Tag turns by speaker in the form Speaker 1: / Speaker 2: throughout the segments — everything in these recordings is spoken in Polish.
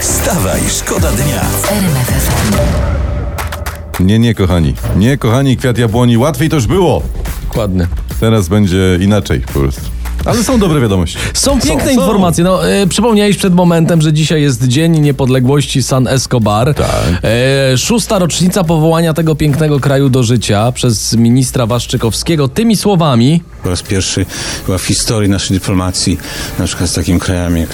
Speaker 1: Wstawaj, szkoda dnia.
Speaker 2: Nie, nie, kochani. Nie, kochani, kwiat jabłoni. Łatwiej to już było.
Speaker 3: Dokładnie.
Speaker 2: Teraz będzie inaczej po prostu. Ale są dobre wiadomości.
Speaker 3: Są piękne
Speaker 2: są.
Speaker 3: informacje. No, e, przypomniałeś przed momentem, że dzisiaj jest Dzień Niepodległości San Escobar.
Speaker 2: Tak.
Speaker 3: E, szósta rocznica powołania tego pięknego kraju do życia przez ministra Waszczykowskiego. Tymi słowami
Speaker 4: po raz pierwszy chyba w historii naszej dyplomacji, na przykład z takim krajem jak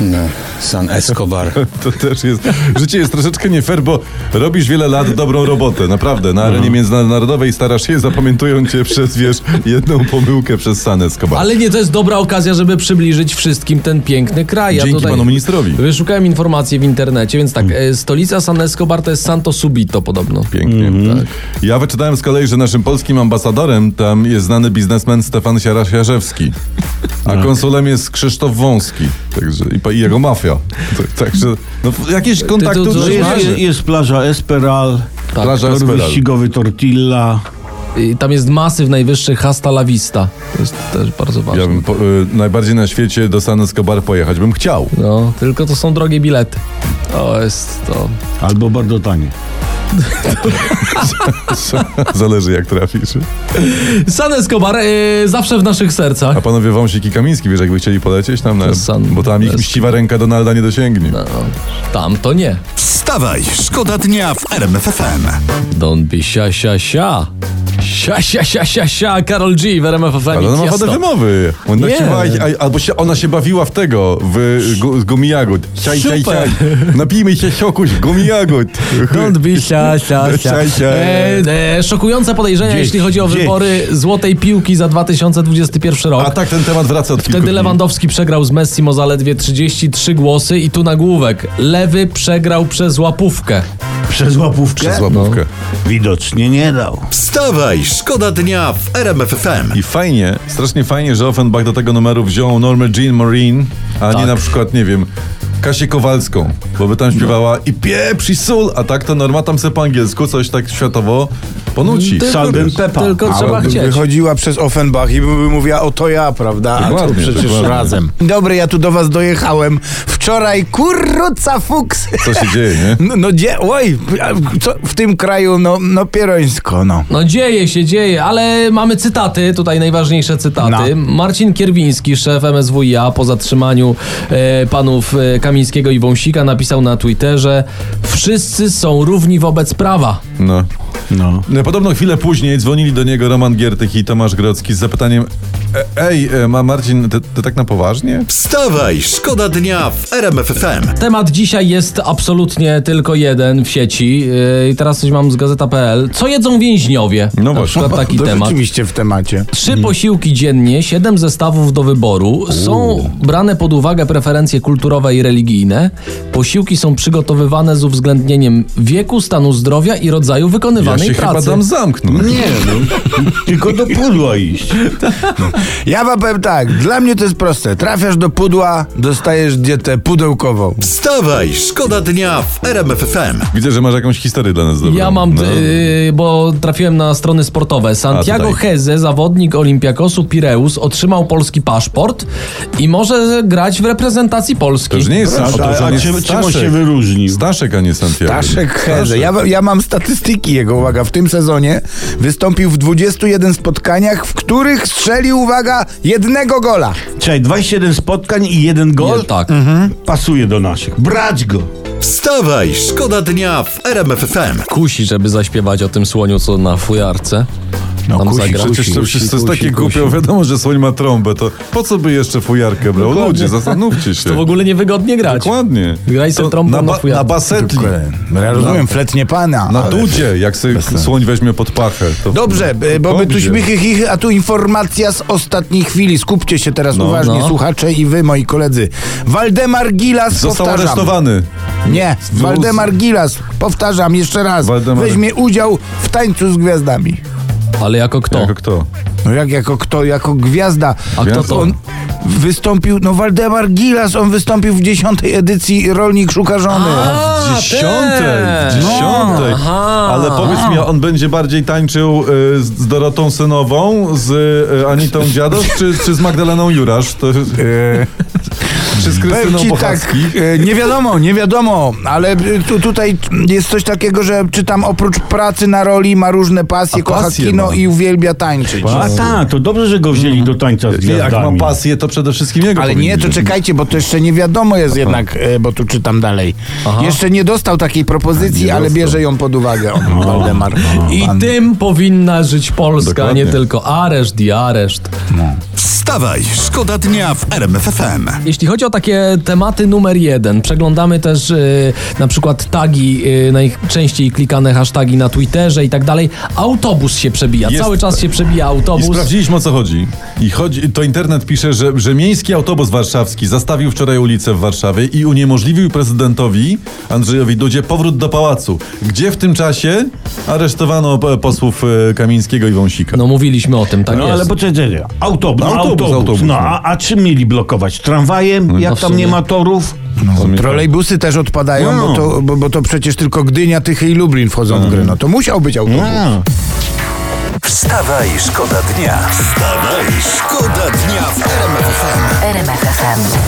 Speaker 4: mm, San Escobar.
Speaker 2: To też jest. Życie jest troszeczkę nie fair, bo robisz wiele lat dobrą robotę, naprawdę. Na arenie międzynarodowej starasz się, zapamiętują cię przez, wiesz, jedną pomyłkę przez Sanę Skobar.
Speaker 3: Ale nie, to jest dobra okazja, żeby przybliżyć wszystkim ten piękny kraj.
Speaker 2: Dzięki panu ministrowi. Hmm.
Speaker 3: Wyszukałem informacje w internecie, więc tak, e, stolica San Escobar to jest Santo Subito podobno.
Speaker 2: Pięknie.
Speaker 3: Mhm.
Speaker 2: Tak. Ja wyczytałem z kolei, że naszym polskim ambasadorem tam jest znany biznesmen Stefan Siarasiarzewski. A konsulem jest Krzysztof Wąski. Także, i, pa- I jego mafia. To- Także no, jakieś kontakty
Speaker 3: tu
Speaker 5: No jest,
Speaker 3: Marzy.
Speaker 5: jest, jest plaża Esperal,
Speaker 2: Plaża
Speaker 5: tor
Speaker 2: Esperal.
Speaker 5: wyścigowy Tortilla.
Speaker 3: I tam jest masyw najwyższy Hasta La Vista. To jest też bardzo ważne.
Speaker 2: Ja bym po, y, najbardziej na świecie do San Escobar pojechać bym chciał.
Speaker 3: No, tylko to są drogie bilety. To jest to.
Speaker 5: Albo bardzo tanie.
Speaker 2: Zależy jak trafisz.
Speaker 3: San Escobar y, zawsze w naszych sercach.
Speaker 2: A panowie Wąsik i Kamiński, wiesz, jakby chcieli polecieć tam, na,
Speaker 3: To San-
Speaker 2: bo tam ich
Speaker 3: to jest-
Speaker 2: mściwa ręka Donalda nie dosięgnie.
Speaker 3: No, tam to nie.
Speaker 1: Wstawaj, szkoda dnia w RMFFM.
Speaker 3: Don't be sia, sia, sia. Sia, sia, sia, sia, sia. Karol G w RMF FM.
Speaker 2: Ale ona ma wadę wymowy. Ona
Speaker 3: Nie.
Speaker 2: się ma, a- albo się, ona się bawiła w tego, w gu, z gumijagód. Siaj, siaj,
Speaker 3: Super.
Speaker 2: siaj. Napijmy się siokuś, gumijagód.
Speaker 3: Don't be sia, sia, sia.
Speaker 2: Sia, sia.
Speaker 3: E, e, szokujące podejrzenia,
Speaker 5: Dzieci,
Speaker 3: jeśli chodzi o
Speaker 5: dzieci.
Speaker 3: wybory złotej piłki za 2021 rok.
Speaker 2: A tak ten temat wraca od kilku
Speaker 3: Wtedy
Speaker 2: dni.
Speaker 3: Lewandowski przegrał z Messim o zaledwie 33 głosy i tu nagłówek. Lewy przegrał przez łapówkę.
Speaker 5: Przez łapówkę?
Speaker 2: Przez
Speaker 3: No.
Speaker 2: łapówkę.
Speaker 5: Widocznie nie dał.
Speaker 1: Wstawaj, szkoda dnia w RMFFM.
Speaker 2: I fajnie, strasznie fajnie, że Offenbach do tego numeru wziął Normę Jean Marine, a
Speaker 3: Tak.
Speaker 2: nie na przykład, nie wiem, Kasię Kowalską, bo by
Speaker 3: No.
Speaker 2: tam śpiewała i pieprz i sól, a tak to Norma tam se po angielsku coś tak światowo ponuci.
Speaker 3: Tylko-
Speaker 5: Saldem Pepa.
Speaker 3: Tylko trzeba
Speaker 2: by
Speaker 3: chcieć.
Speaker 6: Wychodziła przez Offenbach i by mówiła, o to ja, prawda? A
Speaker 2: Dokładnie,
Speaker 6: to przecież
Speaker 2: dokładnie.
Speaker 6: razem. Dobry, ja tu do was dojechałem. Wczoraj, kurruca fuks.
Speaker 2: Co się dzieje, nie?
Speaker 6: No, no gdzie, oj, a co w tym kraju, no, no pierońsko, no.
Speaker 3: No dzieje się, dzieje, ale mamy cytaty, tutaj najważniejsze cytaty.
Speaker 2: No.
Speaker 3: Marcin Kierwiński, szef MSWiA po zatrzymaniu e, panów e, Kamińskiego i Wąsika napisał na Twitterze Wszyscy są równi wobec prawa.
Speaker 2: No.
Speaker 5: No.
Speaker 2: No, Podobno chwilę później dzwonili do niego Roman Giertych i Tomasz Grodzki z zapytaniem "E- Ej, e, ma Marcin, ty, ty tak na poważnie?
Speaker 1: Wstawaj, szkoda dnia w RMFFM.
Speaker 3: Temat dzisiaj jest absolutnie tylko jeden w sieci E, i teraz coś mam z gazeta.pl. Co jedzą więźniowie?
Speaker 2: No
Speaker 3: na
Speaker 2: właśnie.
Speaker 3: przykład taki
Speaker 6: to
Speaker 3: temat.
Speaker 6: rzeczywiście w temacie.
Speaker 3: Trzy posiłki dziennie, siedem zestawów do wyboru. Są brane pod uwagę preferencje kulturowe i religijne. Posiłki są przygotowywane z uwzględnieniem wieku, stanu zdrowia i rodzaju
Speaker 2: Ja
Speaker 3: wykonywanej
Speaker 2: się chyba
Speaker 3: pracy.
Speaker 2: dam zamknąć.
Speaker 5: Nie, no. Tylko do pudła iść.
Speaker 6: Ja wam powiem tak, dla mnie to jest proste. Trafiasz do pudła, dostajesz dietę pudełkową.
Speaker 1: Wstawaj, szkoda dnia w RMFFM.
Speaker 2: Widzę, że masz jakąś historię dla nas dobrą.
Speaker 3: Ja mam,
Speaker 2: No.
Speaker 3: yy, bo trafiłem na strony sportowe. Santiago
Speaker 2: tutaj.
Speaker 3: Heze, zawodnik Olimpiakosu Pireus, otrzymał polski paszport i może grać w reprezentacji Polski.
Speaker 2: To już nie jest
Speaker 5: A,
Speaker 3: e,
Speaker 2: Santiago,
Speaker 5: a,
Speaker 2: to
Speaker 5: a
Speaker 2: jest
Speaker 5: czym, czym on się
Speaker 2: Staszek.
Speaker 5: wyróżnił?
Speaker 2: Staszek, a nie Santiago.
Speaker 6: Staszek Heze. Ja, ja mam statystyki jego, uwaga, w tym sezonie wystąpił w 21 spotkaniach, w których strzelił, uwaga, jednego gola.
Speaker 5: Czekaj, 27 spotkań i jeden gol? Mhm.
Speaker 3: Nie, tak.
Speaker 5: Pasuje do naszych. Brać go!
Speaker 1: Wstawaj, szkoda dnia w RMFFM.
Speaker 3: Kusi, żeby zaśpiewać o tym słoniu, co na fujarce.
Speaker 6: No,
Speaker 3: Tam
Speaker 6: kusi,
Speaker 3: zagra.
Speaker 6: kusi.
Speaker 2: Przecież to, przecież to jest
Speaker 6: kusi,
Speaker 2: takie
Speaker 6: kusi.
Speaker 2: głupio, wiadomo, że słoń ma trąbę, to po co by jeszcze fujarkę brał? Ludzie, zastanówcie
Speaker 3: To w
Speaker 2: się.
Speaker 3: ogóle niewygodnie grać.
Speaker 2: Dokładnie.
Speaker 3: Graj sobie
Speaker 2: To
Speaker 3: trąbą
Speaker 2: na,
Speaker 3: na
Speaker 2: ba-
Speaker 3: fujarce.
Speaker 2: na basetli,
Speaker 6: No, ja rozumiem, flet nie pana.
Speaker 2: na
Speaker 6: ale-
Speaker 2: dudzie, jak sobie słoń weźmie pod pachę. To... no,
Speaker 6: Dobrze, b- bo my tu
Speaker 2: Dobrze.
Speaker 6: śmichy chichy, a tu informacja z ostatniej chwili. Skupcie się teraz uważnie,
Speaker 3: no.
Speaker 6: słuchacze i wy, moi koledzy. Waldemar Gilas,
Speaker 2: Został
Speaker 6: powtarzam.
Speaker 2: aresztowany.
Speaker 6: Nie,
Speaker 2: Wóz.
Speaker 6: Waldemar Gilas, powtarzam jeszcze raz,
Speaker 2: Waldemar-
Speaker 6: weźmie udział w tańcu z gwiazdami.
Speaker 3: Ale jako kto?
Speaker 2: Jako kto?
Speaker 6: No jak jako kto, jako gwiazda.
Speaker 3: A kto to?
Speaker 6: On wystąpił, no Waldemar Gilas, on wystąpił w dziesiątej edycji Rolnik Szuka Żony.
Speaker 2: W dziesiątej,
Speaker 3: tak.
Speaker 2: w dziesiątej.
Speaker 3: Aha.
Speaker 2: Ale powiedz mi, a on będzie bardziej tańczył y, z- z Dorotą Synową, z y, Anitą Dziadosz, czy, czy z Magdaleną Jurasz? To,
Speaker 6: E,
Speaker 2: czy z
Speaker 6: Powiem
Speaker 2: Krystyną
Speaker 6: ci tak,
Speaker 2: Bochacki?
Speaker 6: e, nie wiadomo, nie wiadomo, ale e, tu, tutaj jest coś takiego, że czytam oprócz pracy na roli ma różne pasje,
Speaker 2: A
Speaker 6: kocha
Speaker 2: pasje
Speaker 6: kino
Speaker 2: ma.
Speaker 6: i uwielbia tańczyć.
Speaker 5: A tak, to dobrze, że go wzięli do tańca z
Speaker 2: Jak
Speaker 5: gwiazdami.
Speaker 2: ma No, pasję, to przede wszystkim jego
Speaker 6: Ale
Speaker 2: powinni
Speaker 6: nie, to
Speaker 2: wziąć.
Speaker 6: czekajcie, bo to jeszcze nie wiadomo jest jednak, e, bo tu czytam dalej. Jeszcze nie dostał takiej propozycji, ale bierze ją pod uwagę on, Waldemar.
Speaker 3: I
Speaker 6: Pan.
Speaker 3: tym powinna żyć Polska,
Speaker 2: Dokładnie.
Speaker 3: nie tylko areszt i areszt.
Speaker 1: Wstawaj, szkoda dnia w RMFFM.
Speaker 3: Jeśli chodzi o takie tematy numer jeden, przeglądamy też y, na przykład tagi, y, najczęściej klikane hasztagi na Twitterze i tak dalej. Autobus się przebija,
Speaker 2: Jest-
Speaker 3: cały czas się przebija
Speaker 2: I
Speaker 3: autobus.
Speaker 2: sprawdziliśmy o co chodzi. I chodzi, to internet pisze, że, że miejski autobus warszawski zastawił wczoraj ulicę w Warszawie i uniemożliwił prezydentowi Andrzejowi Dudzie powrót do pałacu, gdzie w tym czasie aresztowano e, posłów e, Kamińskiego i Wąsika.
Speaker 3: No mówiliśmy o tym, tak
Speaker 5: No
Speaker 3: jest.
Speaker 5: ale poczekaj, autobus,
Speaker 2: No, autobus,
Speaker 5: autobus,
Speaker 2: autobus,
Speaker 5: no,
Speaker 2: no.
Speaker 5: a, a czym mieli blokować? Tramwajem, jak
Speaker 3: no w
Speaker 5: tam
Speaker 3: sumie.
Speaker 5: nie ma torów?
Speaker 2: Pamiętam.
Speaker 6: Trolejbusy też odpadają,
Speaker 5: No.
Speaker 6: bo, to, bo, bo to przecież tylko Gdynia, Tychy i Lublin wchodzą w grę. No to musiał być autobus.
Speaker 5: No.
Speaker 1: Wstawaj, szkoda dnia. Wstawaj, szkoda dnia w RMFFM.
Speaker 7: RMFFM.